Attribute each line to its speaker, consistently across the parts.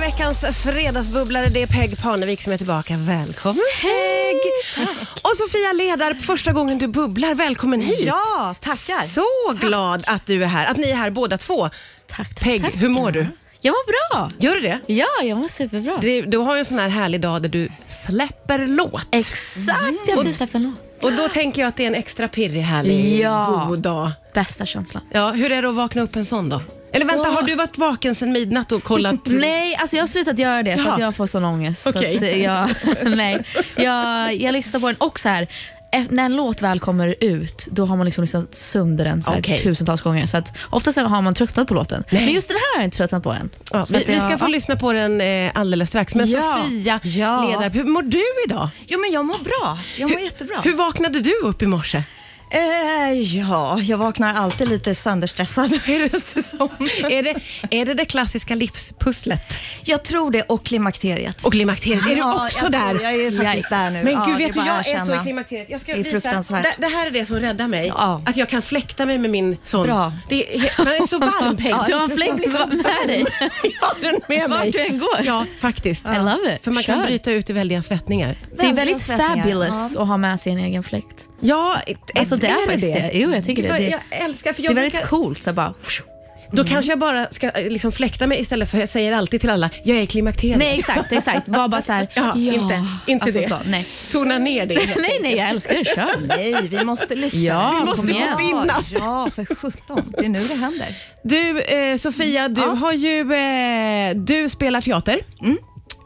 Speaker 1: veckans fredagsbubblare. Det är Peg Parnevik som är tillbaka. Välkommen Peg! Och Sofia Ledar, första gången du bubblar. Välkommen hit!
Speaker 2: Ja, tackar.
Speaker 1: Så glad att du är här, att ni är här båda två.
Speaker 2: Tack, tack,
Speaker 1: Peg,
Speaker 2: tack.
Speaker 1: hur mår du?
Speaker 2: Jag mår bra.
Speaker 1: Gör du det?
Speaker 2: Ja, jag mår superbra.
Speaker 1: det? Du har ju en sån här härlig dag där du släpper låt.
Speaker 2: Exakt,
Speaker 1: Mm.
Speaker 2: jag precis för låt.
Speaker 1: Och då tänker jag att det är en extra pirrig, härlig,
Speaker 2: Ja.
Speaker 1: god dag.
Speaker 2: Bästa känslan.
Speaker 1: Ja, hur är det att vakna upp en sån då? Eller vänta,
Speaker 2: Då-
Speaker 1: har du varit vaken sedan midnatt och kollat?
Speaker 2: Nej, alltså jag har slutat göra det för
Speaker 1: Jaha.
Speaker 2: att jag får sån ångest.
Speaker 1: Okej.
Speaker 2: Så att jag, nej, jag, jag lyssnar på den och så här, e- när en låt väl kommer ut, då har man liksom lyssnat sönder den så här
Speaker 1: Okej.
Speaker 2: tusentals gånger. Så att oftast har man tröttnat på låten.
Speaker 1: Nej.
Speaker 2: Men just den här har jag inte tröttnat på än.
Speaker 1: Ja,
Speaker 2: Så
Speaker 1: vi,
Speaker 2: att
Speaker 1: vi
Speaker 2: jag-
Speaker 1: ska få
Speaker 2: ja.
Speaker 1: lyssna på den eh, alldeles strax. Men
Speaker 2: Ja.
Speaker 1: Sofia
Speaker 3: Ja.
Speaker 1: Ledarp, hur mår du idag?
Speaker 3: Jo, men jag mår bra. Jag mår jättebra.
Speaker 1: Hur vaknade du upp i morse?
Speaker 3: Eh, ja, jag vaknar alltid lite sönderstressad. känns det som.
Speaker 1: är, det, är det det klassiska livspusslet?
Speaker 3: jag tror det och klimakteriet.
Speaker 1: Och klimakteriet, är
Speaker 3: ja,
Speaker 1: du också
Speaker 3: jag tror-
Speaker 1: där?
Speaker 3: Jag är faktiskt
Speaker 2: Yikes.
Speaker 3: där nu.
Speaker 1: Men
Speaker 3: Ja,
Speaker 1: gud,
Speaker 3: det
Speaker 1: vet du,
Speaker 3: bara att
Speaker 1: jag är så i
Speaker 3: erkänna.
Speaker 1: klimakteriet. Jag ska
Speaker 3: det är
Speaker 1: visa.
Speaker 3: fruktansvärt.
Speaker 1: Det, det här är det som räddar mig.
Speaker 3: Ja.
Speaker 1: Att jag kan fläkta mig med min son.
Speaker 3: Bra.
Speaker 1: Det, är- man är så varm, Peg.
Speaker 2: Du har en fläkt som var med dig.
Speaker 1: Jag har den med
Speaker 2: Vart
Speaker 1: mig.
Speaker 2: du än går.
Speaker 1: Ja, faktiskt.
Speaker 2: I love it.
Speaker 1: För man kan
Speaker 2: Kör.
Speaker 1: bryta ut i väldiga svettningar.
Speaker 2: Det är väldigt
Speaker 3: Väldiga
Speaker 2: fabulous
Speaker 3: svettningar.
Speaker 2: att ha med sig en egen fläkt.
Speaker 1: Ja, ett-
Speaker 2: Alltså det
Speaker 1: eller
Speaker 2: är faktiskt det. Jo, jag tycker
Speaker 1: Gud, vad
Speaker 2: det. Det,
Speaker 1: Jag älskar, för
Speaker 2: det är
Speaker 1: jag
Speaker 2: väldigt
Speaker 1: brukar-
Speaker 2: coolt. Så bara,
Speaker 1: Då kanske jag bara ska eh, liksom fläkta mig istället för jag säger alltid till alla, jag är i klimakteriet.
Speaker 2: nej, exakt, exakt. Var bara så här,
Speaker 1: Ja, inte, inte
Speaker 2: alltså
Speaker 1: det.
Speaker 2: Så, nej.
Speaker 1: Tona ner det.
Speaker 2: nej, nej, jag älskar det. Kör.
Speaker 3: Nej, vi måste lyfta
Speaker 2: Ja,
Speaker 3: det.
Speaker 2: Vi måste kom få igen.
Speaker 1: finnas.
Speaker 3: Ja, för sjutton. Det är nu det händer.
Speaker 1: Du eh, Sofia, du har ju, eh, du spelar teater.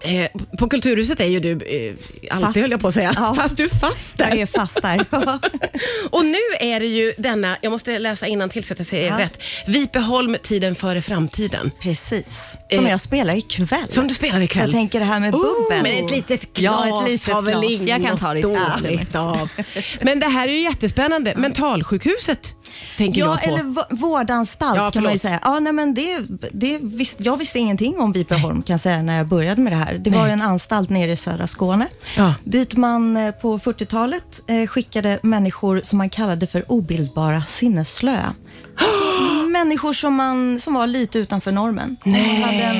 Speaker 1: Eh, på Kulturhuset är ju du, eh, alltid
Speaker 3: Fast.
Speaker 1: höll jag på att säga,
Speaker 3: Ja.
Speaker 1: fast du är fast
Speaker 3: Jag
Speaker 1: där.
Speaker 3: är fast där.
Speaker 1: Och nu är det ju denna, jag måste läsa innan till så att jag säger
Speaker 3: Ja.
Speaker 1: rätt, Vipeholm, tiden före framtiden.
Speaker 3: Precis. Som
Speaker 1: Eh,
Speaker 3: jag spelar ikväll.
Speaker 1: Som du spelar
Speaker 3: Så jag
Speaker 1: ikväll. Oh,
Speaker 3: tänker det här med bubbel.
Speaker 1: Men ett litet glas
Speaker 3: Ja, ett litet
Speaker 1: har väl
Speaker 3: glas.
Speaker 1: inget
Speaker 2: Jag kan ta ditt glas,
Speaker 1: dåligt av. Men det här är ju jättespännande. Mentalsjukhuset tänker
Speaker 3: Ja,
Speaker 1: jag på.
Speaker 3: eller v- vårdanstalt
Speaker 1: Ja,
Speaker 3: kan man ju
Speaker 1: förlåt.
Speaker 3: säga. Ja, nej, men det, det visst, jag visste ingenting om Vipeholm kan jag säga när jag började med det här. Det var ju en anstalt nere i södra Skåne,
Speaker 1: Ja.
Speaker 3: dit man eh, på 40-talet eh, skickade människor som man kallade för obildbara sinnesslöa. människor som, man, som var lite utanför normen. Nej. Hade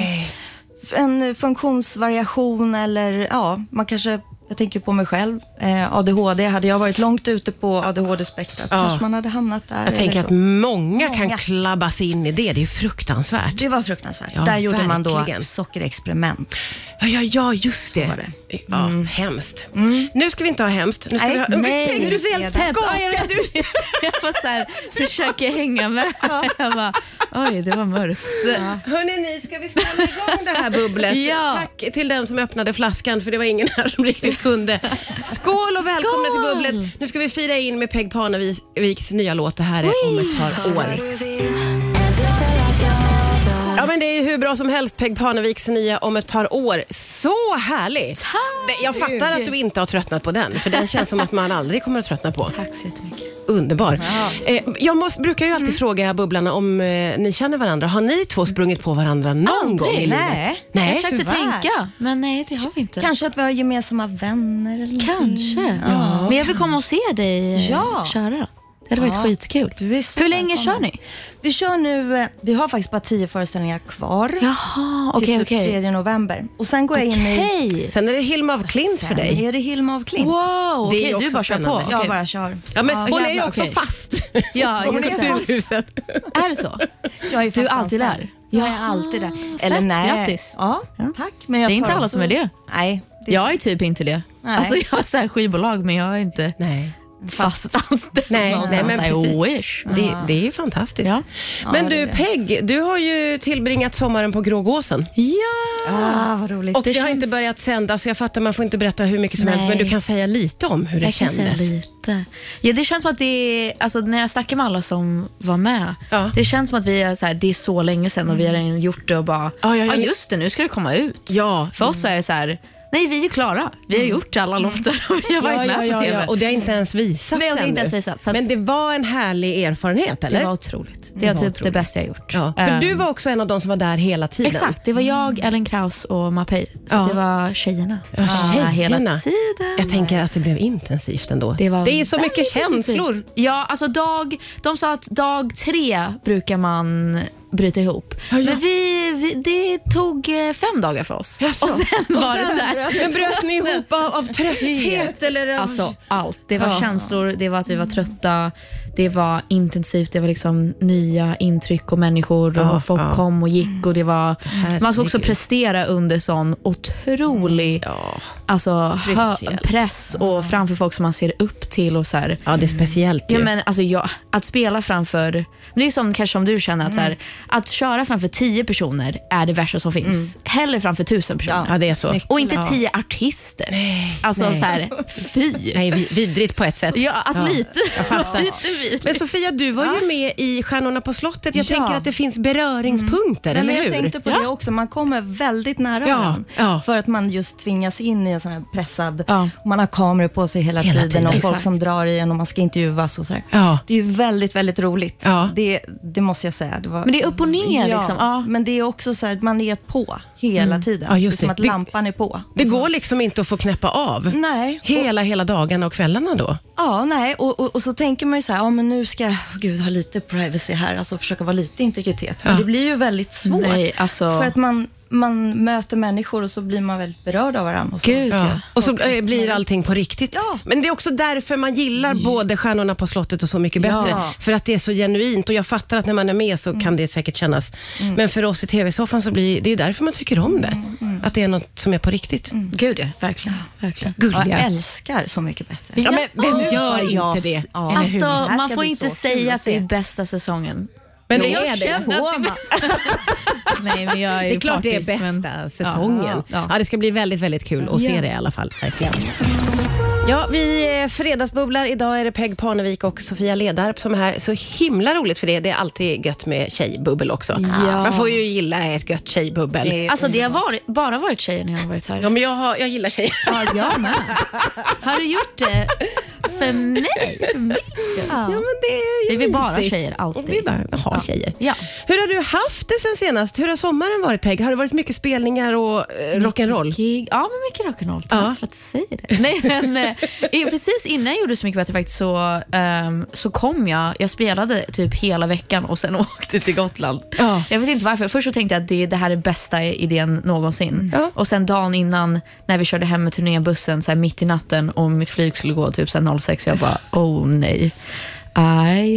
Speaker 3: en, en funktionsvariation eller ja, man kanske jag tänker på mig själv. Eh, ADHD, hade jag varit långt ute på ADHD-spektrat
Speaker 1: Ja.
Speaker 3: kanske man hade hamnat där.
Speaker 1: Jag
Speaker 3: eller
Speaker 1: tänker att
Speaker 3: så.
Speaker 1: många kan
Speaker 3: Många.
Speaker 1: klabba sig in i det. Det är ju fruktansvärt.
Speaker 3: Det var fruktansvärt.
Speaker 1: Ja,
Speaker 3: Där gjorde man då
Speaker 1: verkligen.
Speaker 3: sockerexperiment.
Speaker 1: Ja, ja, ja just det.
Speaker 3: var det. Mm.
Speaker 1: Ja, Hemskt. Nu ska vi inte ha hemskt. Nu ska
Speaker 3: Nej,
Speaker 1: vi ha... Men
Speaker 2: nej.
Speaker 1: Peg, du ser helt
Speaker 3: Pepp,
Speaker 2: ja, jag
Speaker 1: skakad
Speaker 2: vet.
Speaker 1: ut.
Speaker 2: Jag bara så här, försöker hänga med. Jag bara, oj, det var mörkt.
Speaker 1: Hörrni, ni, ska vi ställa igång det här bubblet?
Speaker 2: Ja.
Speaker 1: Tack till den som öppnade flaskan, för det var ingen här som riktigt kunde. Skål och välkomna
Speaker 2: Skål!
Speaker 1: till bubblet. Nu ska vi fira in med Peg Parneviks nya låt. Det här är om ett par år. Ja, men det är ju hur bra som helst, Peg Parneviks nya om ett par år. Så härlig!
Speaker 2: Tack!
Speaker 1: Jag fattar att du inte har tröttnat på den, för den känns som att man aldrig kommer att tröttna på.
Speaker 2: Tack så jättemycket.
Speaker 1: Underbar. Eh, jag måste, brukar ju alltid
Speaker 2: Mm.
Speaker 1: fråga bubblarna om eh, ni känner varandra. Har ni två sprungit på varandra någon
Speaker 2: Aldrig,
Speaker 1: gång i livet?
Speaker 3: nej.
Speaker 2: Jag
Speaker 1: Nej.
Speaker 2: försökte
Speaker 3: tyvärr.
Speaker 2: tänka, men nej, det har vi inte.
Speaker 3: Kanske att vi har gemensamma vänner eller någonting.
Speaker 2: Kanske. Men jag vill komma och se dig eh,
Speaker 3: Ja.
Speaker 2: köra. Det hade varit
Speaker 3: Ja.
Speaker 2: skitkul.
Speaker 3: Du är så
Speaker 2: Hur länge
Speaker 3: välkommen.
Speaker 2: kör ni?
Speaker 3: Vi kör nu, eh, vi har faktiskt bara tio föreställningar kvar.
Speaker 2: Jaha, okej,
Speaker 3: till typ
Speaker 2: okej.
Speaker 3: 3 november. Och sen går jag in i...
Speaker 2: Hej!
Speaker 1: Sen är det Hilma af Klint för
Speaker 3: Sen
Speaker 1: dig.
Speaker 3: är det Hilma af Klint.
Speaker 2: Wow,
Speaker 1: Det är ju
Speaker 2: okej, du
Speaker 1: också
Speaker 2: bara kör på.
Speaker 1: spännande.
Speaker 3: Jag
Speaker 2: Okej.
Speaker 3: bara kör.
Speaker 1: Ja, men hon är ju
Speaker 2: jävlar,
Speaker 1: också
Speaker 2: okej.
Speaker 1: fast
Speaker 2: Ja,
Speaker 1: på
Speaker 2: just det.
Speaker 1: Kulturhuset.
Speaker 2: Är det så?
Speaker 3: Jag är
Speaker 2: Du är
Speaker 3: fast anställd.
Speaker 2: alltid där?
Speaker 3: Jag är
Speaker 2: Jaha,
Speaker 3: alltid där.
Speaker 2: fett,
Speaker 3: Eller nej.
Speaker 2: grattis.
Speaker 3: Ja,
Speaker 2: Ja.
Speaker 3: tack. Men jag
Speaker 2: Det
Speaker 3: tar
Speaker 2: är inte alla
Speaker 3: också-
Speaker 2: som är det.
Speaker 3: Nej. det är
Speaker 2: Jag är typ inte det.
Speaker 3: Nej.
Speaker 2: Alltså jag har så här skivbolag men jag är inte
Speaker 1: Nej.
Speaker 2: fast anställd
Speaker 1: Nej,
Speaker 2: någonstans.
Speaker 1: nej, men
Speaker 2: I
Speaker 1: precis. Mm.
Speaker 2: wish.
Speaker 1: Det, det är ju fantastiskt.
Speaker 2: Ja.
Speaker 1: Men
Speaker 3: Ja, det
Speaker 1: du
Speaker 3: är det.
Speaker 1: Peg, du har ju tillbringat sommaren på Grågåsen.
Speaker 2: Ja!
Speaker 3: Ah, vad roligt.
Speaker 1: Och det,
Speaker 2: Det
Speaker 1: har
Speaker 2: känns-
Speaker 1: inte börjat sändas, så jag fattar man får inte berätta hur mycket som
Speaker 2: Nej.
Speaker 1: helst, men du kan säga lite om hur det
Speaker 2: Jag kan säga
Speaker 1: kändes.
Speaker 2: lite. Ja, det känns som att det är, alltså, när jag snackar med alla som var med,
Speaker 1: Ja.
Speaker 2: det känns som att vi är så här, det är så länge sedan och vi har redan gjort det och bara,
Speaker 1: Ja, ja, ja.
Speaker 2: just det, nu ska det komma ut.
Speaker 1: Ja. Mm.
Speaker 2: För oss så är det så här, nej vi är klara, vi har gjort alla låtar och vi har varit
Speaker 1: Ja, ja,
Speaker 2: med
Speaker 1: ja,
Speaker 2: på TV.
Speaker 1: ja, och det har inte ens visat
Speaker 2: Nej, och det har inte
Speaker 1: ännu.
Speaker 2: ens visat, så att-
Speaker 1: Men det var en härlig erfarenhet, eller?
Speaker 2: Det var otroligt. Det är
Speaker 1: var
Speaker 2: typ det
Speaker 1: otroligt.
Speaker 2: bästa jag gjort.
Speaker 1: Ja, för
Speaker 2: Ehm,
Speaker 1: du var också en av de som var där hela tiden. Mm.
Speaker 2: Exakt, det var jag, Ellen Kraus och Mapei. Så
Speaker 1: Ja.
Speaker 2: det var tjejerna.
Speaker 1: Ja, tjejerna.
Speaker 2: Hela tiden.
Speaker 1: Jag tänker att det blev intensivt ändå.
Speaker 2: Det, var
Speaker 1: det är ju så
Speaker 2: väldigt
Speaker 1: mycket känslor.
Speaker 2: intensivt. Ja, alltså dag, de sa att dag tre brukar man bryta ihop.
Speaker 1: Ja, ja.
Speaker 2: Men vi, vi, det tog eh, fem dagar för oss.
Speaker 1: Jaså.
Speaker 2: Och sen var det så här.
Speaker 1: Men bröt ni ihop av, av trötthet eller av...
Speaker 2: Alltså allt. Det var
Speaker 1: Ja.
Speaker 2: känslor, det var att vi var trötta, det var intensivt, det var liksom nya intryck och människor och
Speaker 1: Ja,
Speaker 2: folk
Speaker 1: ja.
Speaker 2: kom och gick och det var... Man ska också
Speaker 1: Herregud.
Speaker 2: prestera under sån otrolig
Speaker 1: Ja.
Speaker 2: alltså, hö,
Speaker 1: Speciellt.
Speaker 2: press och framför folk som man ser upp till och så här.
Speaker 1: Mm. ja, typ. det är speciellt ju.
Speaker 2: Ja, men alltså, jag, att spela framför, men det är som kanske som du känner, att, så
Speaker 1: Mm.
Speaker 2: här, att köra framför tio personer är det värsta som finns. Hellre framför tusen personer.
Speaker 1: Mm. ja, det är så.
Speaker 2: Och inte
Speaker 1: Ja.
Speaker 2: tio artister. Nej, alltså
Speaker 1: nej.
Speaker 2: så här, fy.
Speaker 1: Nej, vi- vidrigt på ett sätt.
Speaker 2: Ja, alltså
Speaker 1: Ja,
Speaker 2: lite.
Speaker 1: jag fattar.
Speaker 2: lite vidrigt.
Speaker 1: Men Sofia, du var ju med i Stjärnorna på slottet. Jag
Speaker 3: Ja.
Speaker 1: tänker att det finns
Speaker 3: Nej,
Speaker 1: beröringspunkter,
Speaker 3: men
Speaker 1: eller hur?
Speaker 3: jag tänkte på
Speaker 2: Ja.
Speaker 3: det också, man kommer väldigt nära
Speaker 1: Ja,
Speaker 3: varandra.
Speaker 1: ja.
Speaker 3: För att man just tvingas in i en sån här pressad...
Speaker 2: Ja.
Speaker 3: och Man har kameror på sig hela,
Speaker 1: Hela
Speaker 3: tiden,
Speaker 1: tiden.
Speaker 3: och folk
Speaker 2: Exakt.
Speaker 3: som drar i en och man ska intervjuas och sådär.
Speaker 1: Ja.
Speaker 3: Det är ju väldigt, väldigt roligt.
Speaker 1: Ja.
Speaker 3: Det, det måste jag säga. Det var,
Speaker 2: Men det är upp och ner liksom. Ja.
Speaker 3: Men det är också så här att man är på hela tiden.
Speaker 1: Mm. Ja, just
Speaker 3: det är som
Speaker 1: det.
Speaker 3: att
Speaker 1: Det-
Speaker 3: lampan är på.
Speaker 1: Det går liksom inte att få knäppa av.
Speaker 3: Nej.
Speaker 1: Hela, hela dagarna och kvällarna då.
Speaker 3: Ja, nej. Och, och, och så tänker man ju så här, ja men nu ska jag, gud, ha lite privacy här, alltså försöka vara lite integritet. Men det blir ju väldigt svårt.
Speaker 2: Nej, alltså-
Speaker 3: För att man, man möter människor och så blir man väldigt berörd av varandra. Och så.
Speaker 2: Gud ja.
Speaker 1: Ja. Och så eh, blir allting på riktigt.
Speaker 3: Ja.
Speaker 1: Men det är också därför man gillar både Stjärnorna på slottet och Så mycket bättre.
Speaker 3: Ja. Mm.
Speaker 1: För att det är så genuint och jag fattar att när man är med så kan det säkert kännas. Men för oss i tv-soffan så blir det är därför man tycker om det.
Speaker 3: Mm,
Speaker 1: Att det är något som är på riktigt.
Speaker 2: Gud ja, verkligen. verkligen.
Speaker 3: Ja, Jag
Speaker 1: Gulliga.
Speaker 3: älskar Så mycket bättre.
Speaker 1: Ja, men vem
Speaker 3: Ja.
Speaker 1: gör
Speaker 3: Ja, jag-
Speaker 1: inte det?
Speaker 3: ja.
Speaker 1: Eller hur?
Speaker 2: Alltså,
Speaker 3: Det här
Speaker 2: man
Speaker 3: ska
Speaker 2: får
Speaker 3: bli
Speaker 2: inte
Speaker 3: så kul
Speaker 2: säga
Speaker 3: att
Speaker 2: att det är
Speaker 3: se.
Speaker 2: bästa säsongen.
Speaker 1: Men det
Speaker 2: jag
Speaker 1: är det.
Speaker 2: känner-
Speaker 3: Får man?
Speaker 2: Nej, men jag är
Speaker 1: Det är
Speaker 2: ju
Speaker 1: klart det är
Speaker 2: partisk, men-
Speaker 1: bästa säsongen. Ja,
Speaker 2: Ja, ja. Ja.
Speaker 1: det ska bli väldigt, väldigt kul att se
Speaker 2: Ja.
Speaker 1: det i alla fall. Verkligen. Ja, vi eh, fredagsbubblar. Idag är det Peg Parnevik och Sofia Ledarp som är här. Så himla roligt för det. Det är alltid gött med tjejbubbel också.
Speaker 2: Ja.
Speaker 1: Man får ju gilla ett gött tjejbubbel.
Speaker 3: Det-
Speaker 2: Alltså, det har varit, bara varit tjejer när jag har varit här.
Speaker 1: Ja, men jag, har, jag gillar tjejer.
Speaker 3: Ja, jag med.
Speaker 2: Har du gjort det för mig? För min skull?
Speaker 1: Ja, men det är
Speaker 2: Det
Speaker 1: ju
Speaker 2: är vi bara
Speaker 1: mysigt.
Speaker 2: tjejer, alltid.
Speaker 1: Och Vi bara har
Speaker 2: Ja.
Speaker 1: tjejer.
Speaker 2: Ja.
Speaker 1: Hur har du haft det sen senast? Hur har sommaren varit Peg? Har det varit mycket spelningar och eh, rock'n'roll?
Speaker 2: Gig. Ja, men mycket rock'n'roll. Tack
Speaker 1: Ja.
Speaker 2: för att du säger det. Nej, men, eh, i- precis innan jag gjorde Så mycket bättre faktiskt så, ehm, så kom jag. Jag spelade typ hela veckan och sen åkte till Gotland.
Speaker 1: Ja.
Speaker 2: Jag vet inte varför. Först så tänkte jag att det, det här är bästa idén någonsin.
Speaker 1: Ja.
Speaker 2: Och sen dagen innan när vi körde hem med turnébussen så här mitt i natten och mitt flyg skulle gå typ så här 06, jag bara oh nej. I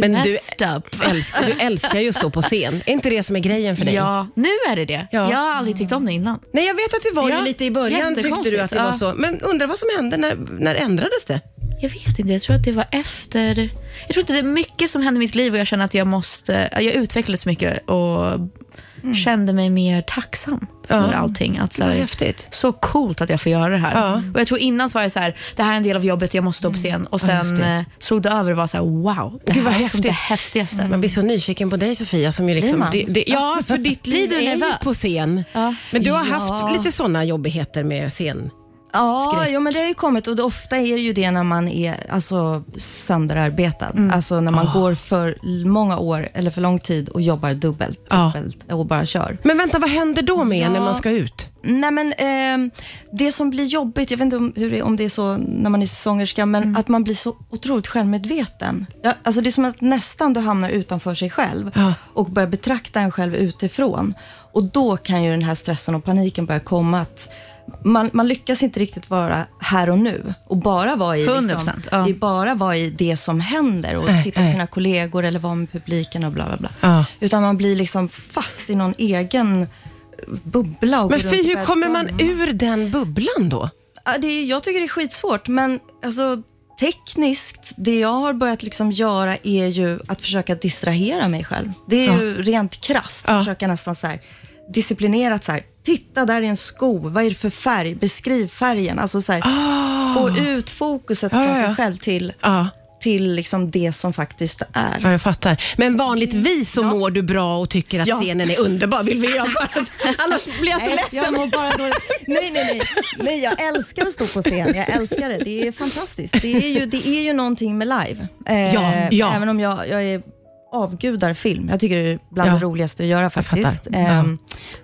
Speaker 1: Men du-
Speaker 2: messed up.
Speaker 1: Älskar, du älskar ju att stå på scen. Är inte det som är grejen för dig?
Speaker 2: Ja, nu är det det.
Speaker 1: Ja.
Speaker 2: Jag har aldrig tyckt om det innan.
Speaker 1: Nej, jag vet att det var
Speaker 2: Ja,
Speaker 1: ju lite i början tyckte
Speaker 2: jättekonstigt,
Speaker 1: du att det var
Speaker 2: ja.
Speaker 1: så. Men undrar vad som hände, när, när ändrades det?
Speaker 2: Jag vet inte, jag tror att det var efter... Jag tror att det är mycket som hände i mitt liv och jag känner att jag måste... Jag utvecklades mycket och kände mig mer tacksam för
Speaker 1: Mm. Ja.
Speaker 2: allting. Att så,
Speaker 1: Vad
Speaker 2: här,
Speaker 1: häftigt.
Speaker 2: så coolt att jag får göra det här.
Speaker 1: Ja. Mm.
Speaker 2: Och jag tror innan så var det så här, det här är en del av jobbet, jag måste stå på scen. Och sen
Speaker 1: det.
Speaker 2: eh, slog det över och var så här, wow, det
Speaker 1: Gud, vad
Speaker 2: här är liksom
Speaker 1: häftigt. Mm.
Speaker 2: det häftigaste.
Speaker 1: Man blir så nyfiken på dig Sofia. Som ju liksom,
Speaker 3: man?
Speaker 1: det, det, ja, för ditt
Speaker 2: Blir
Speaker 1: liv
Speaker 2: du
Speaker 1: är ju
Speaker 2: nervös?
Speaker 1: på scen.
Speaker 2: Ja.
Speaker 1: Men du har
Speaker 3: Ja.
Speaker 1: haft lite sådana jobbigheter med scen.
Speaker 3: Ja,
Speaker 1: Skräck.
Speaker 3: jo, men det har ju kommit och det, ofta är det ju det när man är alltså, sönderarbetad. Alltså när man går för l- många år eller för lång tid och jobbar dubbelt,
Speaker 1: Ja.
Speaker 3: dubbelt och bara kör.
Speaker 1: Men vänta, vad händer då med er när
Speaker 3: Ja.
Speaker 1: man ska ut?
Speaker 3: Nej, men ehm, det som blir jobbigt, jag vet inte om, hur det, om det är så när man är sångerska, men
Speaker 1: Mm.
Speaker 3: att man blir så otroligt självmedveten. Ja, alltså det är som att nästan du hamnar utanför sig själv
Speaker 1: Ja.
Speaker 3: och börjar betrakta en själv utifrån. Och då kan ju den här stressen och paniken börja komma. att man, man lyckas inte riktigt vara här och nu och bara vara i, liksom,
Speaker 2: 100%, ja.
Speaker 3: i, bara vara i det som händer och
Speaker 1: Nej,
Speaker 3: titta på
Speaker 1: nej.
Speaker 3: sina kollegor eller vara med publiken och bla bla bla.
Speaker 1: Eh, Ja.
Speaker 3: Utan man blir liksom fast i någon egen bubbla. Och
Speaker 1: Men
Speaker 3: går runt
Speaker 1: fy,
Speaker 3: och
Speaker 1: hur
Speaker 3: börjar
Speaker 1: kommer
Speaker 3: döma.
Speaker 1: man ur den bubblan då?
Speaker 3: Ja, det är, jag tycker det är skitsvårt, men alltså, tekniskt, det jag har börjat liksom göra är ju att försöka distrahera mig själv. Det är ju rent krasst,
Speaker 1: Ja.
Speaker 3: försöka nästan så här, disciplinerat så här, titta där är en sko, vad är det för färg, beskriv färgen. Alltså så här, få ut fokuset
Speaker 1: Ah. Ja,
Speaker 3: från
Speaker 1: ja, ja.
Speaker 3: sig själv till,
Speaker 1: Ja,
Speaker 3: till liksom det som faktiskt är.
Speaker 1: ja, jag fattar. Men vanligtvis så mår du bra och tycker att
Speaker 3: Mm. Ja.
Speaker 1: scenen är underbar. Vill vi göra bara. Annars blir jag så
Speaker 3: Nej,
Speaker 1: ledsen.
Speaker 3: Jag mår bara dåligt. Nej, nej, nej, nej. Jag älskar att stå på scen. Jag älskar det. Det är fantastiskt. Det är ju, det är ju någonting med live. Eh,
Speaker 1: Ja, ja.
Speaker 3: Även om jag, jag är avgudar film. Jag tycker det är bland
Speaker 1: Ja.
Speaker 3: det roligaste att göra faktiskt.
Speaker 1: fattar. Ja.
Speaker 3: Ehm,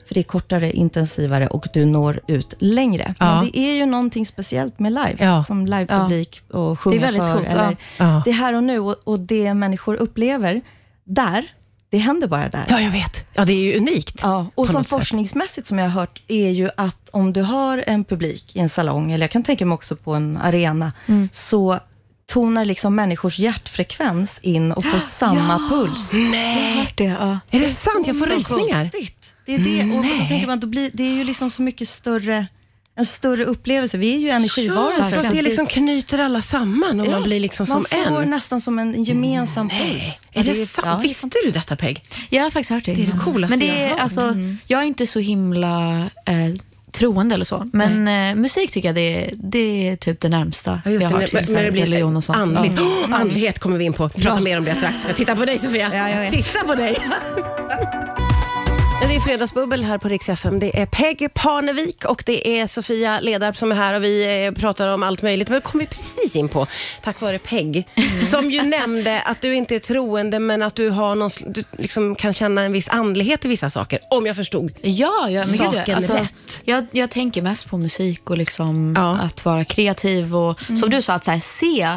Speaker 3: För det är kortare, intensivare och du når ut längre.
Speaker 1: Ja.
Speaker 3: Men det är ju någonting speciellt med live,
Speaker 1: Ja.
Speaker 3: som livepublik och sjunga
Speaker 2: väldigt
Speaker 3: för.
Speaker 2: coolt,
Speaker 3: eller,
Speaker 2: ja.
Speaker 1: Ja.
Speaker 3: Det är här och nu och, och det människor upplever där, Det händer bara där.
Speaker 1: Ja, jag vet. Ja, det är ju unikt.
Speaker 3: Ja, och
Speaker 1: på
Speaker 3: som
Speaker 1: något sätt.
Speaker 3: forskningsmässigt som jag har hört är ju att om du har en publik i en salong, eller jag kan tänka mig också på en arena,
Speaker 1: Mm.
Speaker 3: så tonar liksom människors hjärtfrekvens in och får samma puls.
Speaker 2: Jag har hört det. Ja.
Speaker 1: Är det sant? Jag får
Speaker 3: Så
Speaker 1: rysningar.
Speaker 3: konstigt. Det är det, och då tänker man, då blir, det är ju liksom så mycket större, en större upplevelse. Vi är ju energivarelser.
Speaker 1: så att det liksom knyter alla samman och man blir liksom som
Speaker 3: man får
Speaker 1: en.
Speaker 3: nästan som en gemensam puls.
Speaker 1: Är
Speaker 3: Ja,
Speaker 1: det
Speaker 3: ja,
Speaker 1: sant? Visste du detta, Peg?
Speaker 2: Jag har faktiskt hört det.
Speaker 1: är det
Speaker 2: innan.
Speaker 1: coolaste
Speaker 2: men det
Speaker 1: jag har
Speaker 2: är,
Speaker 1: hört. Mm.
Speaker 2: alltså, Jag är inte så himla eh, troende eller så, men eh, musik tycker jag det är, det är typ det närmsta jag
Speaker 1: typ
Speaker 2: har hört till så här religion och sånt.
Speaker 1: andligt.
Speaker 2: Ja.
Speaker 1: Oh, andlighet kommer vi in på. Prata mer om det strax. Jag tittar på dig, Sofia.
Speaker 3: Ja, jag vet.
Speaker 1: Titta på dig. Ja, Det är Fredagsbubbel här på Rix FM. Det är Peg Parnevik och det är Sofia Ledarp som är här och vi eh, pratar om allt möjligt. Men det kom vi precis in på, tack vare Peg, som ju nämnde att du inte är troende men att du, har någon, sl- du liksom kan känna en viss andlighet i vissa saker, om jag förstod.
Speaker 2: Ja, ja men gud,
Speaker 1: Saken är
Speaker 2: jag- alltså,
Speaker 1: lätt.
Speaker 2: jag, jag tänker mest på musik och liksom
Speaker 1: Ja. Mm.
Speaker 2: att vara kreativ och som du sa, att så här, se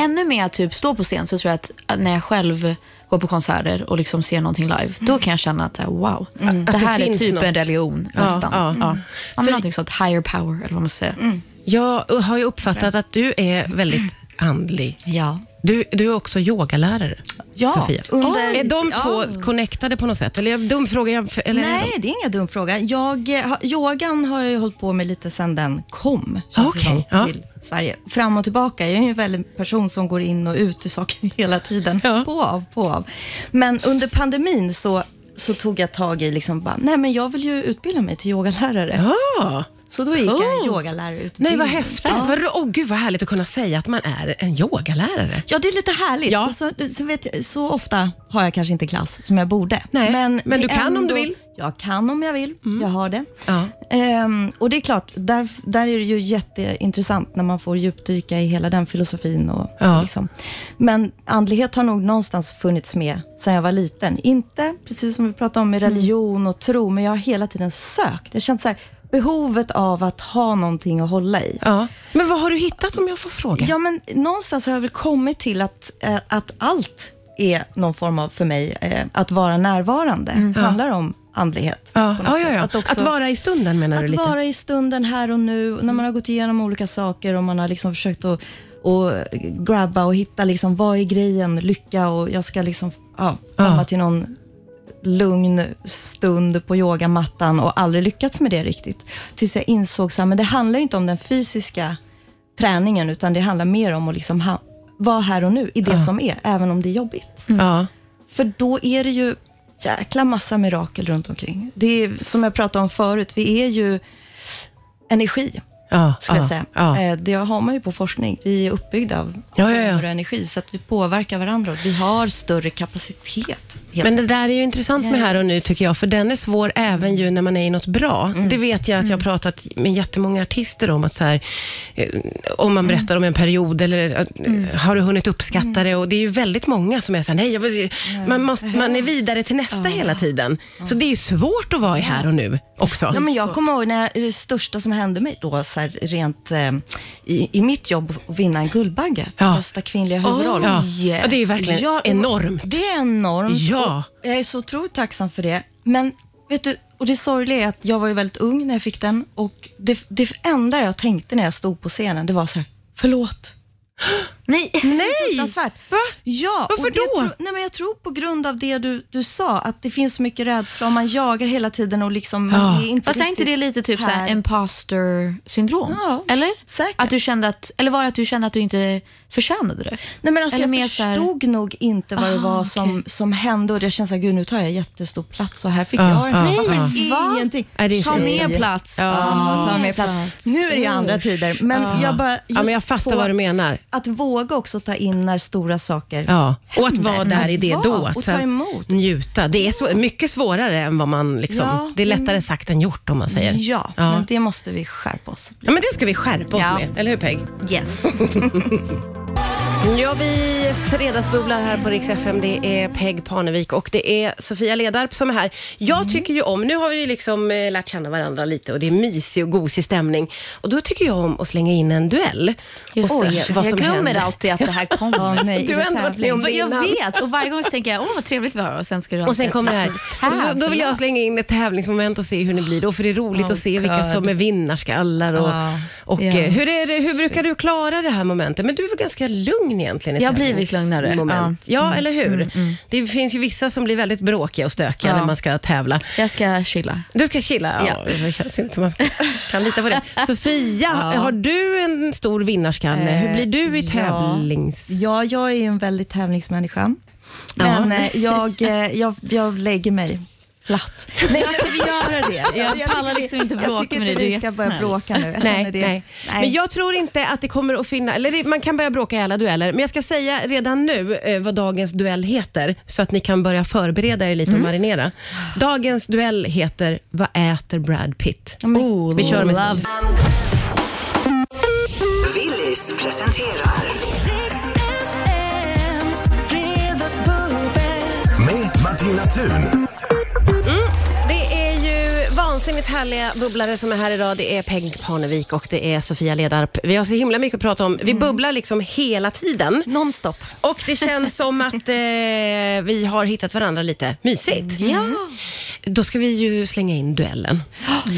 Speaker 2: ännu mer typ stå på scen så tror jag att, att när jag själv går på konserter och liksom ser någonting live, då kan jag känna att så här, wow, det
Speaker 1: Mm. Att det
Speaker 2: här är
Speaker 1: finns
Speaker 2: typ
Speaker 1: något.
Speaker 2: en religion
Speaker 1: Ja,
Speaker 2: nästan.
Speaker 1: ja. Mm.
Speaker 2: Ja, ja. men någonting sånt, higher power eller vad man ska säga.
Speaker 1: Jag har ju uppfattat att du är väldigt andlig.
Speaker 3: Ja.
Speaker 1: Du, du är också yogalärare,
Speaker 3: Ja,
Speaker 1: Sofia.
Speaker 3: under-
Speaker 1: är de
Speaker 3: ja.
Speaker 1: två connectade på något sätt? Eller jag- dum fråga? Jag, eller
Speaker 3: Nej, det är ingen dum fråga. Jag, eh, har- yogan har jag ju hållit på med lite sedan den kom känns det
Speaker 1: Okej,
Speaker 3: som,
Speaker 1: ja.
Speaker 3: till Sverige. Fram och tillbaka. Jag är ju väl en person som går in och ut ur saker hela tiden.
Speaker 1: Ja.
Speaker 3: På och av, på och av. Men under pandemin så, så tog jag tag i, liksom bara, nej men jag vill ju utbilda mig till yogalärare.
Speaker 1: Ja.
Speaker 3: Så då gick jag en
Speaker 2: Coolt.
Speaker 3: yogalärarutbildning.
Speaker 1: Ah, Nej, vad häftigt.
Speaker 3: Mm. Ja.
Speaker 1: Vad ro- Åh gud, vad härligt att kunna säga att man är en yogalärare.
Speaker 3: Ja, det är lite härligt.
Speaker 1: Ja.
Speaker 3: Och så, så, vet, jag- så ofta har jag kanske inte klass som jag borde.
Speaker 1: Nej, men
Speaker 3: det
Speaker 1: du kan om du vill. Mm.
Speaker 3: Jag kan om jag vill. Jag har det.
Speaker 1: Ja.
Speaker 3: Ehm, och det är klart, där, där är det ju jätteintressant när man får djupdyka i hela den filosofin. Och,
Speaker 1: Ja.
Speaker 3: liksom. Men andlighet har nog någonstans funnits med sedan jag var liten. Inte precis som vi pratade om med
Speaker 1: Mm.
Speaker 3: religion och tro, men jag har hela tiden sökt. Jag känner så här, behovet av att ha någonting att hålla i.
Speaker 1: Ja. Men vad har du hittat om jag får fråga?
Speaker 3: Ja, men någonstans har jag väl kommit till att, eh, att allt är någon form av, för mig, eh, att vara närvarande. handlar om andlighet.
Speaker 1: Mm. Ja.
Speaker 3: på något
Speaker 1: Ja, ja,
Speaker 3: sätt.
Speaker 1: ja. Att,
Speaker 3: Att, också,
Speaker 1: vara i stunden menar du
Speaker 3: att
Speaker 1: lite?
Speaker 3: vara i stunden här och nu, när man har gått igenom olika saker och man har liksom försökt att och grabba och hitta liksom, vad är grejen, lycka och jag ska liksom, ja, komma till någon lugn stund på yogamattan och aldrig lyckats med det riktigt. Tills jag insåg så här, men det handlar ju inte om den fysiska träningen, utan det handlar mer om att liksom ha, vara här och nu i det som är, även om det är jobbigt.
Speaker 1: Ja.
Speaker 3: För då är det ju jäkla massa mirakel runt omkring. Det är som jag pratade om förut, vi är ju energi,
Speaker 1: Ja.
Speaker 3: skulle
Speaker 1: ja.
Speaker 3: jag säga.
Speaker 1: Ja.
Speaker 3: Eh, Det har man ju på forskning. Vi är uppbyggda av
Speaker 1: Ja, ja, ja.
Speaker 3: atomer och energi, så att vi påverkar varandra och vi har större kapacitet. helt
Speaker 1: Men det där är ju intressant med här och nu tycker jag, för den är svår även ju när man är i något bra.
Speaker 3: Mm.
Speaker 1: Det vet jag att jag har pratat med jättemånga artister om, att så här, eh, om
Speaker 3: Mm.
Speaker 1: man berättar om en period eller eh, har du hunnit uppskatta det? Och det är ju väldigt många som är så här, nej, jag, vill- man, måste, man är vidare till nästa hela tiden. Så det är ju svårt att vara i här och nu också.
Speaker 3: Ja, men jag kommer ihåg när jag, det största som hände mig då, så här, rent eh, i, i mitt jobb, att vinna en Guldbagge.
Speaker 1: Ja.
Speaker 3: Bästa kvinnliga huvudroll.
Speaker 1: ja.
Speaker 2: Yeah.
Speaker 1: ja, det är ju verkligen
Speaker 3: Ja, och-
Speaker 1: enormt.
Speaker 3: Det är enormt.
Speaker 1: Ja.
Speaker 3: Och jag är så otroligt tacksam för det. Men vet du, och det sorgliga är att jag var ju väldigt ung när jag fick den och det, det enda jag tänkte när jag stod på scenen, det var så här, förlåt.
Speaker 2: Nej.
Speaker 3: Fruktansvärt.
Speaker 1: Va?
Speaker 3: Ja, och
Speaker 1: Varför
Speaker 3: det
Speaker 1: då?
Speaker 3: Tro, nej men jag tror på grund av det du, du sa, att det finns så mycket rädsla och man jagar hela tiden och liksom... man är Inte
Speaker 2: Fast är inte det
Speaker 3: riktigt
Speaker 2: lite typ
Speaker 3: här.
Speaker 2: såhär imposter syndrom?
Speaker 3: Ja,
Speaker 2: eller?
Speaker 3: säkert.
Speaker 2: Att du kände att, eller var det att du kände att du inte förtjänade det?
Speaker 3: Nej, men alltså,
Speaker 2: Eller
Speaker 3: jag
Speaker 2: mer så här-
Speaker 3: förstod nog inte vad det
Speaker 2: Ah,
Speaker 3: var
Speaker 2: okej.
Speaker 3: som, som hände och jag kände så här, gud nu tar jag jättestor plats och här fick jag
Speaker 1: Ja,
Speaker 3: en
Speaker 1: ja,
Speaker 3: Jag fattar
Speaker 2: Va?
Speaker 3: ingenting.
Speaker 1: Nej, det är
Speaker 2: Ta
Speaker 1: så-
Speaker 2: mer plats.
Speaker 3: Ja,
Speaker 2: Ah.
Speaker 3: ta mer plats. Nu är det ju andra tider, men jag bara...
Speaker 1: Ja, men jag
Speaker 3: just
Speaker 1: fattar
Speaker 3: på
Speaker 1: vad du menar.
Speaker 3: Att våga också ta in när stora saker...
Speaker 1: Ja, och att vara där i det
Speaker 3: Ja,
Speaker 1: då. Att
Speaker 3: och
Speaker 1: så här
Speaker 3: ta emot.
Speaker 1: Njuta. Det är så, mycket svårare än vad man liksom...
Speaker 3: Ja,
Speaker 1: det är lättare sagt än gjort om man säger.
Speaker 3: Ja,
Speaker 1: ja.
Speaker 3: men det måste vi skärpa oss.
Speaker 1: Ja, men det ska vi skärpa oss
Speaker 3: Ja.
Speaker 1: med, eller hur Peg?
Speaker 3: Yes.
Speaker 1: Ja, vi fredagsbubblar här på Rix FM. Det är Peg Parnevik och det är Sofia Ledarp som är här. Jag tycker ju om, nu har vi ju liksom eh, lärt känna varandra lite och det är mysig och gosig stämning. Och då tycker jag om att slänga in en duell.
Speaker 2: Just
Speaker 1: och
Speaker 2: det.
Speaker 1: se vad
Speaker 2: jag
Speaker 1: som
Speaker 2: glömmer
Speaker 1: händer.
Speaker 2: alltid att det här kommer.
Speaker 3: Ja, nej,
Speaker 1: Du har ändå varit med om det
Speaker 2: jag
Speaker 1: innan.
Speaker 2: vet och varje gång så tänker jag, åh vad trevligt vi har och sen ska du ha
Speaker 1: Och sen
Speaker 2: en
Speaker 1: kommer det här.
Speaker 2: tävling.
Speaker 1: Och Då vill jag slänga in ett tävlingsmoment och se hur ni blir då, för det är roligt
Speaker 2: Oh
Speaker 1: att se vilka
Speaker 2: God.
Speaker 1: som är vinnarskallar. Och,
Speaker 2: Ja.
Speaker 1: och,
Speaker 2: Ja.
Speaker 1: eh, hur, är det, hur brukar du klara det här momentet? Men du var ganska lugn egentligen. i
Speaker 2: Jag har blivit
Speaker 1: tävlingsmoment.
Speaker 2: lugnare, Mm.
Speaker 1: Ja, eller hur? Det finns ju vissa som blir väldigt bråkiga och stökiga
Speaker 2: Ja.
Speaker 1: när man ska tävla.
Speaker 2: Jag ska chilla.
Speaker 1: Du ska chilla? Ja, det känns inte som man ska- kan lita på det. Sofia, har du en stor vinnarskalle? Hur blir du i tävlings...
Speaker 3: Ja, jag är ju en väldigt tävlingsmänniska. Men eh, jag, eh, jag, jag lägger mig platt.
Speaker 2: Nej, ska vi göra det? Jag
Speaker 3: tycker
Speaker 2: pallar
Speaker 3: vi-
Speaker 2: liksom inte
Speaker 3: Jag
Speaker 2: bråk
Speaker 3: tycker
Speaker 2: med dig,
Speaker 3: inte
Speaker 2: du är
Speaker 3: vi ska börja
Speaker 2: jättesnäll.
Speaker 3: bråka nu. Jag
Speaker 1: Nej,
Speaker 3: känner det.
Speaker 1: nej. Men jag tror inte att det kommer att finnas, eller det, man kan börja bråka i alla dueller, men jag ska säga redan nu eh, vad dagens duell heter, så att ni kan börja förbereda er lite och marinera. Dagens duell heter Vad äter Brad Pitt?
Speaker 2: Oh,
Speaker 1: Vi kör med
Speaker 2: love.
Speaker 1: stil.
Speaker 4: Willys presenterar
Speaker 5: Med Martina Thun.
Speaker 1: Det är ju vansinnigt härliga bubblare som är här idag. Det är Peg Parnevik och det är Sofia Ledarp. Vi har så himla mycket att prata om. Vi bubblar liksom hela tiden.
Speaker 3: Nonstop.
Speaker 1: Och det känns som att eh, vi har hittat varandra lite mysigt. Mm.
Speaker 2: Ja.
Speaker 1: Då ska vi ju slänga in duellen.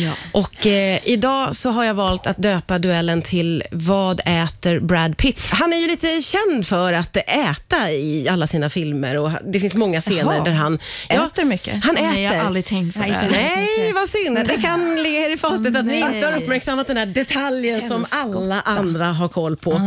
Speaker 2: Ja.
Speaker 1: Och eh, idag så har jag valt att döpa duellen till Vad äter Brad Pitt? Han är ju lite känd för att äta i alla sina filmer och det finns många scener
Speaker 3: Jaha.
Speaker 1: där han...
Speaker 3: Äter mycket?
Speaker 1: Han äter.
Speaker 2: Nej, jag har aldrig tänkt på
Speaker 3: Nej,
Speaker 2: det.
Speaker 3: inte
Speaker 2: Nej.
Speaker 1: Nej, vad synd. Det kan ligga er i fatet att ni
Speaker 2: Nej.
Speaker 1: inte har uppmärksammat den här detaljen som alla andra har koll på. Jag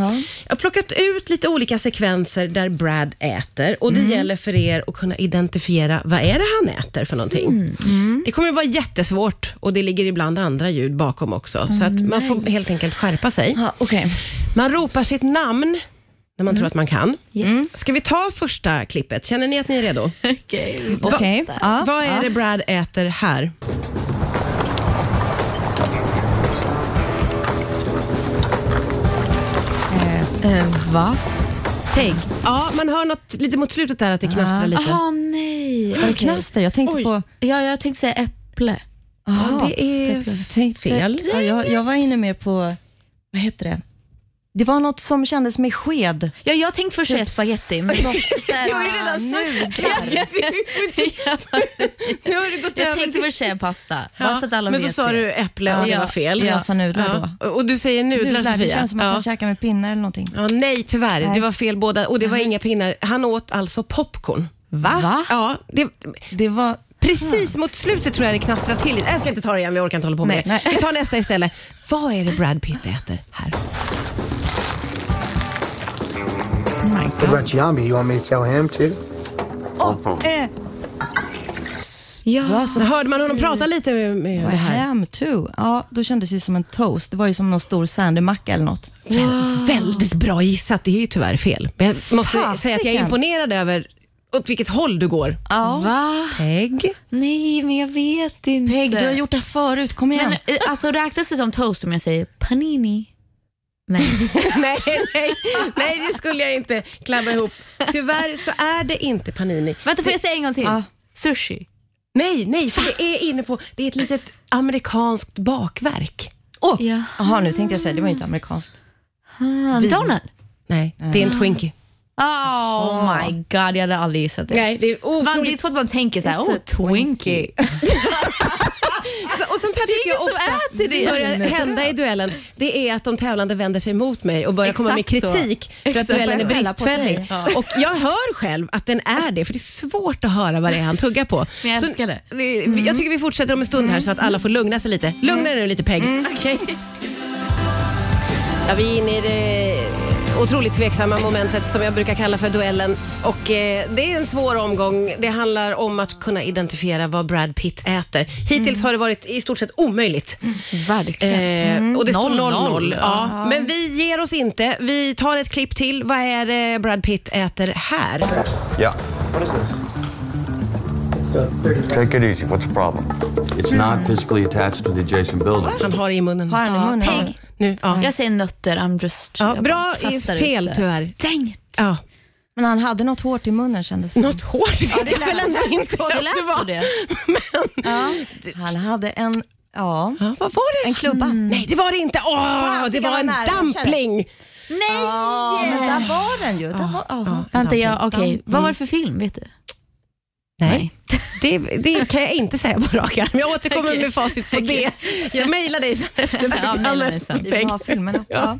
Speaker 1: har plockat ut lite olika sekvenser där Brad äter och det
Speaker 3: Mm.
Speaker 1: gäller för er att kunna identifiera vad är det han äter för någonting.
Speaker 3: Mm.
Speaker 1: Det kommer att vara jättesvårt och det ligger ibland andra ljud bakom också, så att man får helt enkelt skärpa sig.
Speaker 3: Mm, Ja, Mm. Okej.
Speaker 1: Man ropar sitt namn när man tror att man kan.
Speaker 2: Yes.
Speaker 1: Ska vi ta första klippet? Känner ni att ni är redo?
Speaker 3: Mm.
Speaker 2: Okej.
Speaker 3: Okej. Ja.
Speaker 1: Vad är
Speaker 3: Ja.
Speaker 1: det Brad äter här?
Speaker 2: Eh, va? Peg?
Speaker 1: Ja, man hör något lite mot slutet där att det knastrar lite.
Speaker 2: Jaha, Ah, nej.
Speaker 3: Var det
Speaker 2: Okej.
Speaker 3: knaster? Jag tänkte
Speaker 1: Oj.
Speaker 3: på...
Speaker 2: Ja, jag tänkte säga äpple.
Speaker 1: Ja, det är
Speaker 3: tänkte-
Speaker 1: fel.
Speaker 3: Ja, jag, jag var inne mer på, vad heter det? Det var något som kändes med sked.
Speaker 2: Ja, jag tänkte först säga
Speaker 3: Typ
Speaker 2: spagetti, men så här,
Speaker 1: Jag är redan
Speaker 2: jag,
Speaker 1: Nu har det gått
Speaker 2: jag
Speaker 1: över
Speaker 2: tänkte
Speaker 1: till...
Speaker 2: först säga pasta. Bara
Speaker 1: Ja,
Speaker 2: så att alla
Speaker 1: men så
Speaker 2: vet
Speaker 1: sa
Speaker 2: det.
Speaker 1: du äpple och det
Speaker 2: Ja.
Speaker 1: var fel.
Speaker 3: Ja, jag sa nudlar
Speaker 1: då. Och du säger nudlar,
Speaker 3: Nudlar,
Speaker 1: Sofia.
Speaker 3: det känns som att
Speaker 1: ja.
Speaker 3: man käkar med pinnar eller någonting.
Speaker 1: ja, nej, tyvärr. Det
Speaker 3: Nej.
Speaker 1: var fel båda. Och det var inga pinnar. Han åt alltså popcorn.
Speaker 2: Va?
Speaker 1: Ja, det,
Speaker 3: Det var,
Speaker 1: precis mot slutet tror jag det knastrade till lite. Jag ska inte ta det igen, vi orkar inte hålla på med
Speaker 2: Nej.
Speaker 1: det. Vi tar nästa istället. Vad är det Brad Pitt äter här?
Speaker 6: What about Giambi? You want me to tell him too?
Speaker 3: eh,
Speaker 2: Ja.
Speaker 1: Men hörde man honom prata lite med, med det
Speaker 3: vad
Speaker 1: här?
Speaker 3: ham too. Ja, då kändes det ju som en toast. Det var ju som någon stor sandymacka eller något.
Speaker 1: Vä- Väldigt bra gissat. Det är ju tyvärr fel. Men jag måste
Speaker 3: Fasiken.
Speaker 1: säga att jag är imponerad över åt vilket håll du går. Ah.
Speaker 3: Ja.
Speaker 2: Va?
Speaker 1: Ägg.
Speaker 2: Nej, men jag vet inte.
Speaker 3: Peg, du har gjort det här förut. Kom igen.
Speaker 2: men, eh, alltså, räknas det som toast om jag säger panini? Nej.
Speaker 1: nej, nej, nej, det skulle jag inte klabba ihop. Tyvärr så är det inte panini.
Speaker 2: Vänta, får jag säga en gång till?
Speaker 3: Ja.
Speaker 2: Sushi.
Speaker 1: Nej, nej, för det är inne på, det är ett litet amerikanskt bakverk.
Speaker 3: Åh!
Speaker 2: Ja.
Speaker 3: Jaha, nu tänkte jag säga, det var ju inte amerikanskt.
Speaker 2: Ah, donut.
Speaker 1: Nej, det är en Twinkie.
Speaker 2: Oh, my god, jag hade aldrig gissat det.
Speaker 1: Nej, det är
Speaker 2: Man, det är
Speaker 1: otroligt.
Speaker 2: så att man tänker så här,
Speaker 3: It's
Speaker 2: oh,
Speaker 3: a
Speaker 2: Twinkie.
Speaker 1: Så- Alltså, Och sånt här tycker jag
Speaker 2: ingen som
Speaker 1: ofta
Speaker 2: äter det.
Speaker 1: börjar hända i duellen. Det är att de tävlande vänder sig mot mig och börjar komma med
Speaker 2: Exakt så.
Speaker 1: kritik för att
Speaker 2: Exakt.
Speaker 1: duellen är
Speaker 2: Jag
Speaker 3: skäller på
Speaker 1: bristfällig. Och jag hör själv att den är det, för det är svårt att höra vad det är han tuggar på.
Speaker 2: Men jag
Speaker 1: Så
Speaker 2: älskar det.
Speaker 1: vi- vi- Jag tycker vi fortsätter om en stund här så att alla får lugna sig lite. Lugna dig nu lite Peg.
Speaker 2: Mm.
Speaker 1: Okej? Ja, vi är inne i det otroligt tveksamma momentet som jag brukar kalla för duellen. Och eh, det är en svår omgång. Det handlar om att kunna identifiera vad Brad Pitt äter. Hittills
Speaker 2: Mm.
Speaker 1: har det varit i stort sett omöjligt.
Speaker 2: Verkligen.
Speaker 1: Eh, och det står
Speaker 2: 0-0.
Speaker 1: 0-0. Ja.
Speaker 2: Ja.
Speaker 1: Men vi ger oss inte. Vi tar ett klipp till. Vad är det Brad Pitt äter här?
Speaker 7: Yeah.
Speaker 6: So 30
Speaker 7: Take it easy. What's the problem? It's not physically attached to the adjacent building.
Speaker 1: Han har det i munnen.
Speaker 3: Har han i munnen?
Speaker 2: Peg.
Speaker 1: Nu, ja.
Speaker 2: Jag säger nötter, I'm just...
Speaker 1: Ja,
Speaker 2: jag
Speaker 1: bra
Speaker 2: bara kastar
Speaker 1: fel
Speaker 2: ut det.
Speaker 1: tyvärr.
Speaker 2: Dang it.
Speaker 1: Ja.
Speaker 3: Men han hade något hårt i munnen kändes det
Speaker 1: Något hårt vet
Speaker 3: det
Speaker 1: jag
Speaker 3: lät-
Speaker 1: väl ändå inte
Speaker 2: Det
Speaker 1: att
Speaker 2: lät
Speaker 1: det
Speaker 2: så
Speaker 1: var.
Speaker 2: det.
Speaker 3: Han hade en, ja,
Speaker 1: Ja, vad var det? Mm.
Speaker 3: en klubba.
Speaker 1: Nej, det var det inte. Åh, det
Speaker 3: jag
Speaker 1: var
Speaker 3: var
Speaker 1: en
Speaker 3: nära.
Speaker 1: dumpling.
Speaker 2: Nej!
Speaker 3: Ja, men där var den ju. Där var, ja.
Speaker 2: Vänta, jag, okej.
Speaker 1: Mm.
Speaker 2: Vad var det för film? Vet du?
Speaker 1: Nej, det, det kan jag inte säga på rak arm. Jag återkommer med facit på det. Jag mejlar dig sen efter
Speaker 2: Ja, mejla mig sen.
Speaker 3: Vi vill ha filmerna. Ja.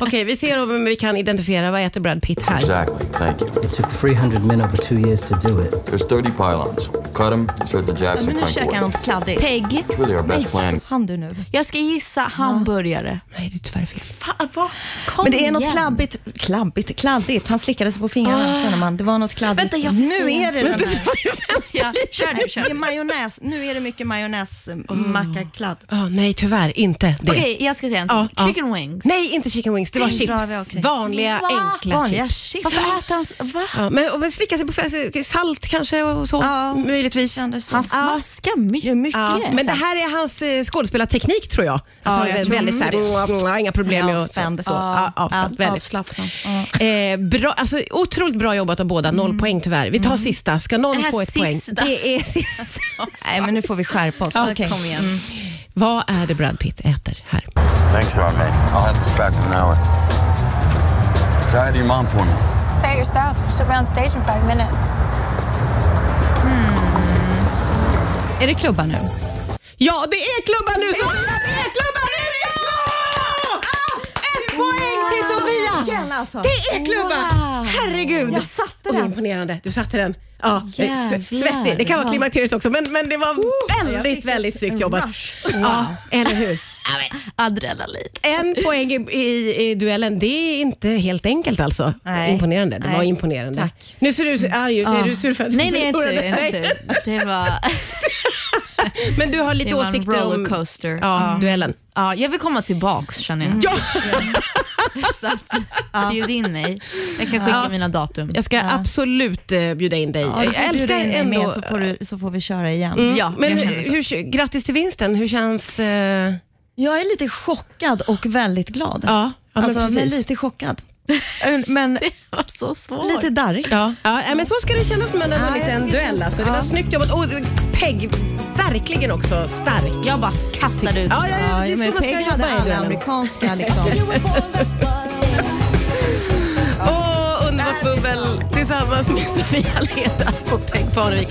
Speaker 1: Okej, vi ser om vi kan identifiera vad äter Brad Pitt här.
Speaker 7: Exactly. Thank you.
Speaker 8: It took 300 men over two years to do it.
Speaker 7: There's 30 pylons. Cut them, insert the
Speaker 3: Men
Speaker 7: Jackson
Speaker 3: nu
Speaker 7: crank
Speaker 3: käkar han
Speaker 7: board.
Speaker 3: något kladdigt.
Speaker 2: Peg.
Speaker 7: It's really our best plan.
Speaker 3: Han du nu.
Speaker 2: Jag ska gissa hamburgare.
Speaker 1: Nej, det är tyvärr fel.
Speaker 2: Fan, vad? Kom
Speaker 3: Men det är något
Speaker 2: igen.
Speaker 3: klabbigt, klabbigt, kladdigt. Han slickade sig på fingrarna känner man. Det var något kladdigt.
Speaker 2: Vänta, jag får
Speaker 3: nu
Speaker 2: se.
Speaker 3: är det den här.
Speaker 2: Ja, kör du, kör
Speaker 3: Det är
Speaker 2: du.
Speaker 3: majonnäs. Nu är det mycket majonnäs, mm, mackakladd.
Speaker 1: Ja, Ah, nej, tyvärr inte det.
Speaker 2: Okej, jag ska säga en
Speaker 1: Ja,
Speaker 2: till.
Speaker 1: ja.
Speaker 2: Chicken wings.
Speaker 1: Nej, inte chicken wings. Det var
Speaker 3: Tänk, drar vi också.
Speaker 1: chips. Vanliga,
Speaker 2: Va?
Speaker 1: enkla
Speaker 3: Vanliga
Speaker 1: chips.
Speaker 3: chips.
Speaker 2: Varför äter han... s- Va?
Speaker 1: Ja, men, och men slicka sig på fä- salt kanske och så,
Speaker 3: Ja,
Speaker 1: möjligtvis.
Speaker 3: kändes så.
Speaker 2: Han smaskar mycket.
Speaker 3: Ja, mycket.
Speaker 1: Ja,
Speaker 3: Yes.
Speaker 1: men det här är hans eh, skådespelarteknik tror jag. Att han
Speaker 2: jag
Speaker 1: är
Speaker 2: tror
Speaker 1: väldigt
Speaker 2: det.
Speaker 1: såhär, mm, mm, inga problem med att-
Speaker 3: Avspänd.
Speaker 1: så. Ja, avspänd,
Speaker 3: Ja,
Speaker 1: väldigt.
Speaker 2: Avslappnad.
Speaker 1: Eh, bra, alltså, otroligt bra jobbat av båda, noll poäng tyvärr. Vi tar sista, ska någon
Speaker 2: Det här
Speaker 1: få ett
Speaker 2: sista.
Speaker 1: poäng? Det är sista.
Speaker 3: Nej, men nu får vi skärpa oss. Okej. Mm.
Speaker 2: Kom igen.
Speaker 1: Vad är det Brad Pitt äter här?
Speaker 5: Thanks, Rob, man.
Speaker 7: I'll have this back in an hour. Try it to your mom for me.
Speaker 9: Say it yourself. She'll be on stage in five minutes.
Speaker 3: Är det klubban nu?
Speaker 1: Ja, det är klubban nu! Så det är klubban nu! Ja! Ah, Ett poäng till Sofia!
Speaker 3: Igen alltså.
Speaker 1: Det är klubban!
Speaker 2: Wow.
Speaker 1: Herregud! Jag satte den. imponerande. Du satte den. Ja,
Speaker 2: Jävlar.
Speaker 1: svettig. Det kan vara
Speaker 2: Ja.
Speaker 1: klimakteriet också, men, men det var
Speaker 3: jag
Speaker 1: väldigt,
Speaker 3: fick
Speaker 1: väldigt
Speaker 3: ett-
Speaker 1: snyggt
Speaker 3: en
Speaker 1: jobbat.
Speaker 3: rush.
Speaker 1: Ja, eller hur?
Speaker 2: Adrenalin.
Speaker 1: En poäng i, i, i duellen, det är inte helt enkelt alltså.
Speaker 3: Nej.
Speaker 1: Imponerande. Det var
Speaker 3: Nej.
Speaker 1: imponerande.
Speaker 3: Tack.
Speaker 1: Nu ser du så arg ut. Är du sur för att du
Speaker 2: Ah. Nej, nej, jag är inte sur, jag
Speaker 1: förlorade?
Speaker 2: är inte sur. Det var,
Speaker 1: Nej. Men du har lite
Speaker 2: det var en
Speaker 1: åsikter om
Speaker 2: rollercoaster.
Speaker 1: ja, duellen.
Speaker 2: Ja, jag vill komma tillbaks känner jag.
Speaker 1: Ja,
Speaker 2: Så att, bjud in mig. Jag kan skicka mina datum.
Speaker 1: jag ska absolut eh, bjuda in dig.
Speaker 3: Ja,
Speaker 1: jag älskar ändå...
Speaker 3: så får, du, så får vi köra igen.
Speaker 2: Ja,
Speaker 1: Men
Speaker 2: Mm. jag känner så.
Speaker 1: hur, grattis till vinsten. Hur känns... eh,
Speaker 3: Jag är lite chockad och väldigt glad.
Speaker 1: Ja, ja, men
Speaker 3: alltså, men,
Speaker 1: precis.
Speaker 3: lite chockad. Men
Speaker 2: Det var så svårt.
Speaker 3: lite darrig.
Speaker 1: Ja, ja nej, men så ska det kännas med en
Speaker 3: Ja, jag
Speaker 1: liten
Speaker 3: tycker det
Speaker 1: duell.
Speaker 3: känns-
Speaker 1: Alltså. Det var
Speaker 3: ja.
Speaker 1: snyggt jobbat. Och eh, Peg, verkligen också stark.
Speaker 2: Jag bara kastade ut.
Speaker 1: Ja, ja, ja, det är
Speaker 3: Ja,
Speaker 1: så
Speaker 3: men
Speaker 1: man ska
Speaker 3: Peg
Speaker 1: jobba
Speaker 3: hade
Speaker 1: i
Speaker 3: alla
Speaker 1: duellen.
Speaker 3: amerikanska liksom.
Speaker 1: Åh, underbart bubbel tillsammans med Sofia Leda och Peg Parnevik.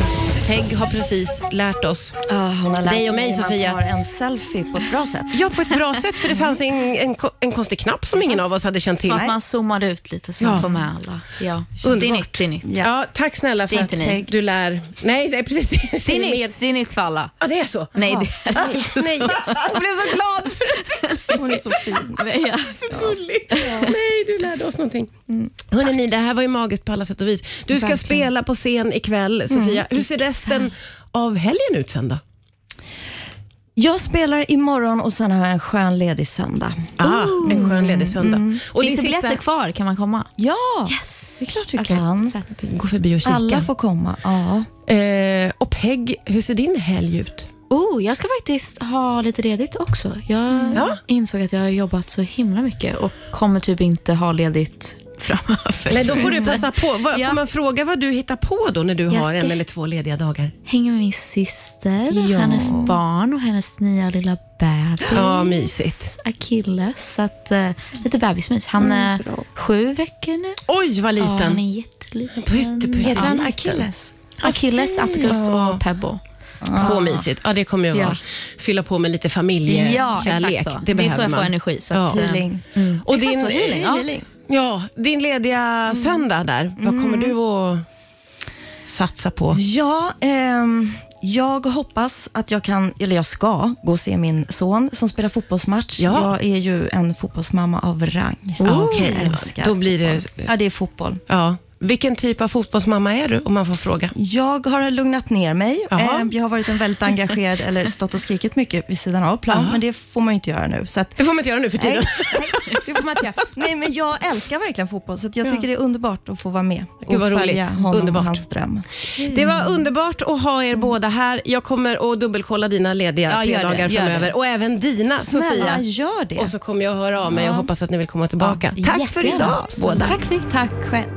Speaker 1: Peg har precis lärt oss.
Speaker 3: Ja, ah, hon har lärt
Speaker 1: Dig och mig,
Speaker 3: hur man
Speaker 1: Sofia.
Speaker 3: tar en selfie på ett bra sätt.
Speaker 1: Ja, på ett bra sätt, för det fanns en, en, ko- en konstig knapp som ingen av oss hade känt till.
Speaker 2: Så att man zoomar ut lite så man får med alla. Ja. Det är
Speaker 1: Underbart.
Speaker 2: nytt, det är nytt.
Speaker 1: Ja. tack snälla för
Speaker 2: Det är
Speaker 1: att
Speaker 2: inte ni.
Speaker 1: du lär... Nej, nej precis. Det
Speaker 2: Det
Speaker 1: är
Speaker 2: är
Speaker 1: med.
Speaker 2: nytt, det är nytt för alla.
Speaker 1: Ja, det är så.
Speaker 2: Nej, det är det inte.
Speaker 1: Nej, jag blev så glad för det.
Speaker 3: Hon är så fin.
Speaker 2: Nej, ja.
Speaker 1: Så gullig. Nej, du lärde oss någonting. Hörrni, ni, det här var ju magiskt på alla sätt och vis. Du ska spela på scen ikväll, Sofia. Hur ser resten av helgen ut sen då?
Speaker 3: Jag spelar imorgon och sen har jag en skön ledig söndag.
Speaker 1: Ah, en skön ledig söndag. Och
Speaker 2: Finns det
Speaker 1: ni sitter-
Speaker 2: biljetter kvar? Kan man komma?
Speaker 3: Ja,
Speaker 2: Yes.
Speaker 3: det är klart du kan.
Speaker 2: Fett.
Speaker 1: Gå förbi och kika.
Speaker 3: Alla får komma. Ja.
Speaker 1: Eh, och Peg, hur ser din helg ut?
Speaker 2: Oh, jag ska faktiskt ha lite ledigt också. Jag
Speaker 1: Mm. Ja.
Speaker 2: insåg att jag har jobbat så himla mycket och kommer typ inte ha ledigt framöver.
Speaker 1: Nej, då får du passa på. Va,
Speaker 2: Ja.
Speaker 1: Får man fråga vad du hittar på då när du
Speaker 2: Jag
Speaker 1: har
Speaker 2: ska-
Speaker 1: en eller två lediga dagar?
Speaker 2: Hänger med min syster,
Speaker 1: Ja.
Speaker 2: hennes barn och hennes nya lilla bebis.
Speaker 1: Ja, mysigt.
Speaker 2: Achilles. Så att, eh, lite bebismys. Han är sju veckor nu.
Speaker 1: Oj, vad
Speaker 2: Ja, han
Speaker 1: Mm, liten.
Speaker 2: är jätteliten.
Speaker 1: Pytte, pytte.
Speaker 3: Heter han
Speaker 1: liten.
Speaker 3: Achilles?
Speaker 2: Achilles, Atticus och Pebbo.
Speaker 1: Så mysigt. Ja, det kommer jag vara.
Speaker 2: Ja.
Speaker 1: Fylla på med lite familjekärlek.
Speaker 2: Ja, exakt så.
Speaker 1: Det,
Speaker 2: Det är
Speaker 1: behöver
Speaker 2: så jag får
Speaker 1: man.
Speaker 2: energi, så att, eh,
Speaker 3: Healing.
Speaker 1: Och
Speaker 2: Exakt
Speaker 1: din, eh,
Speaker 2: så, healing, ja. Mm.
Speaker 3: Healing.
Speaker 1: Ja, din lediga söndag där, vad kommer du att satsa på?
Speaker 3: Ja, ehm, jag hoppas att jag kan, eller jag ska, gå och se min son som spelar fotbollsmatch.
Speaker 1: Ja.
Speaker 3: Jag är ju en fotbollsmamma av rang.
Speaker 1: Ja, okej.
Speaker 3: Jag älskar
Speaker 1: Då blir det-
Speaker 3: fotboll. Ja, det är fotboll.
Speaker 1: Ja, Vilken typ av fotbollsmamma är du om man får fråga?
Speaker 3: Jag har lugnat ner mig.
Speaker 1: Jaha.
Speaker 3: Eh, Jag har varit en väldigt engagerad, eller stått och skrikit mycket vid sidan av plan, men det får man ju inte göra nu. Så att,
Speaker 1: Det får man inte göra nu för
Speaker 3: nej,
Speaker 1: tiden.
Speaker 3: nej, det får man inte göra. Nej, men jag älskar verkligen fotboll, så att jag tycker det är underbart att få vara med och
Speaker 1: Gud, vad
Speaker 3: följa
Speaker 1: roligt.
Speaker 3: honom
Speaker 1: Underbart.
Speaker 3: och hans dröm.
Speaker 1: Det var underbart att ha er båda här. Jag kommer att dubbelkolla dina lediga
Speaker 2: Ja, gör det,
Speaker 1: fredagar
Speaker 2: gör det.
Speaker 1: framöver och även dina
Speaker 3: Snälla,
Speaker 1: Sofia.
Speaker 3: gör det.
Speaker 1: Och så kommer jag att höra av mig och hoppas att ni vill komma tillbaka. Tack för
Speaker 2: Jättegärna.
Speaker 1: idag båda.
Speaker 2: Tack för
Speaker 3: Tack själv.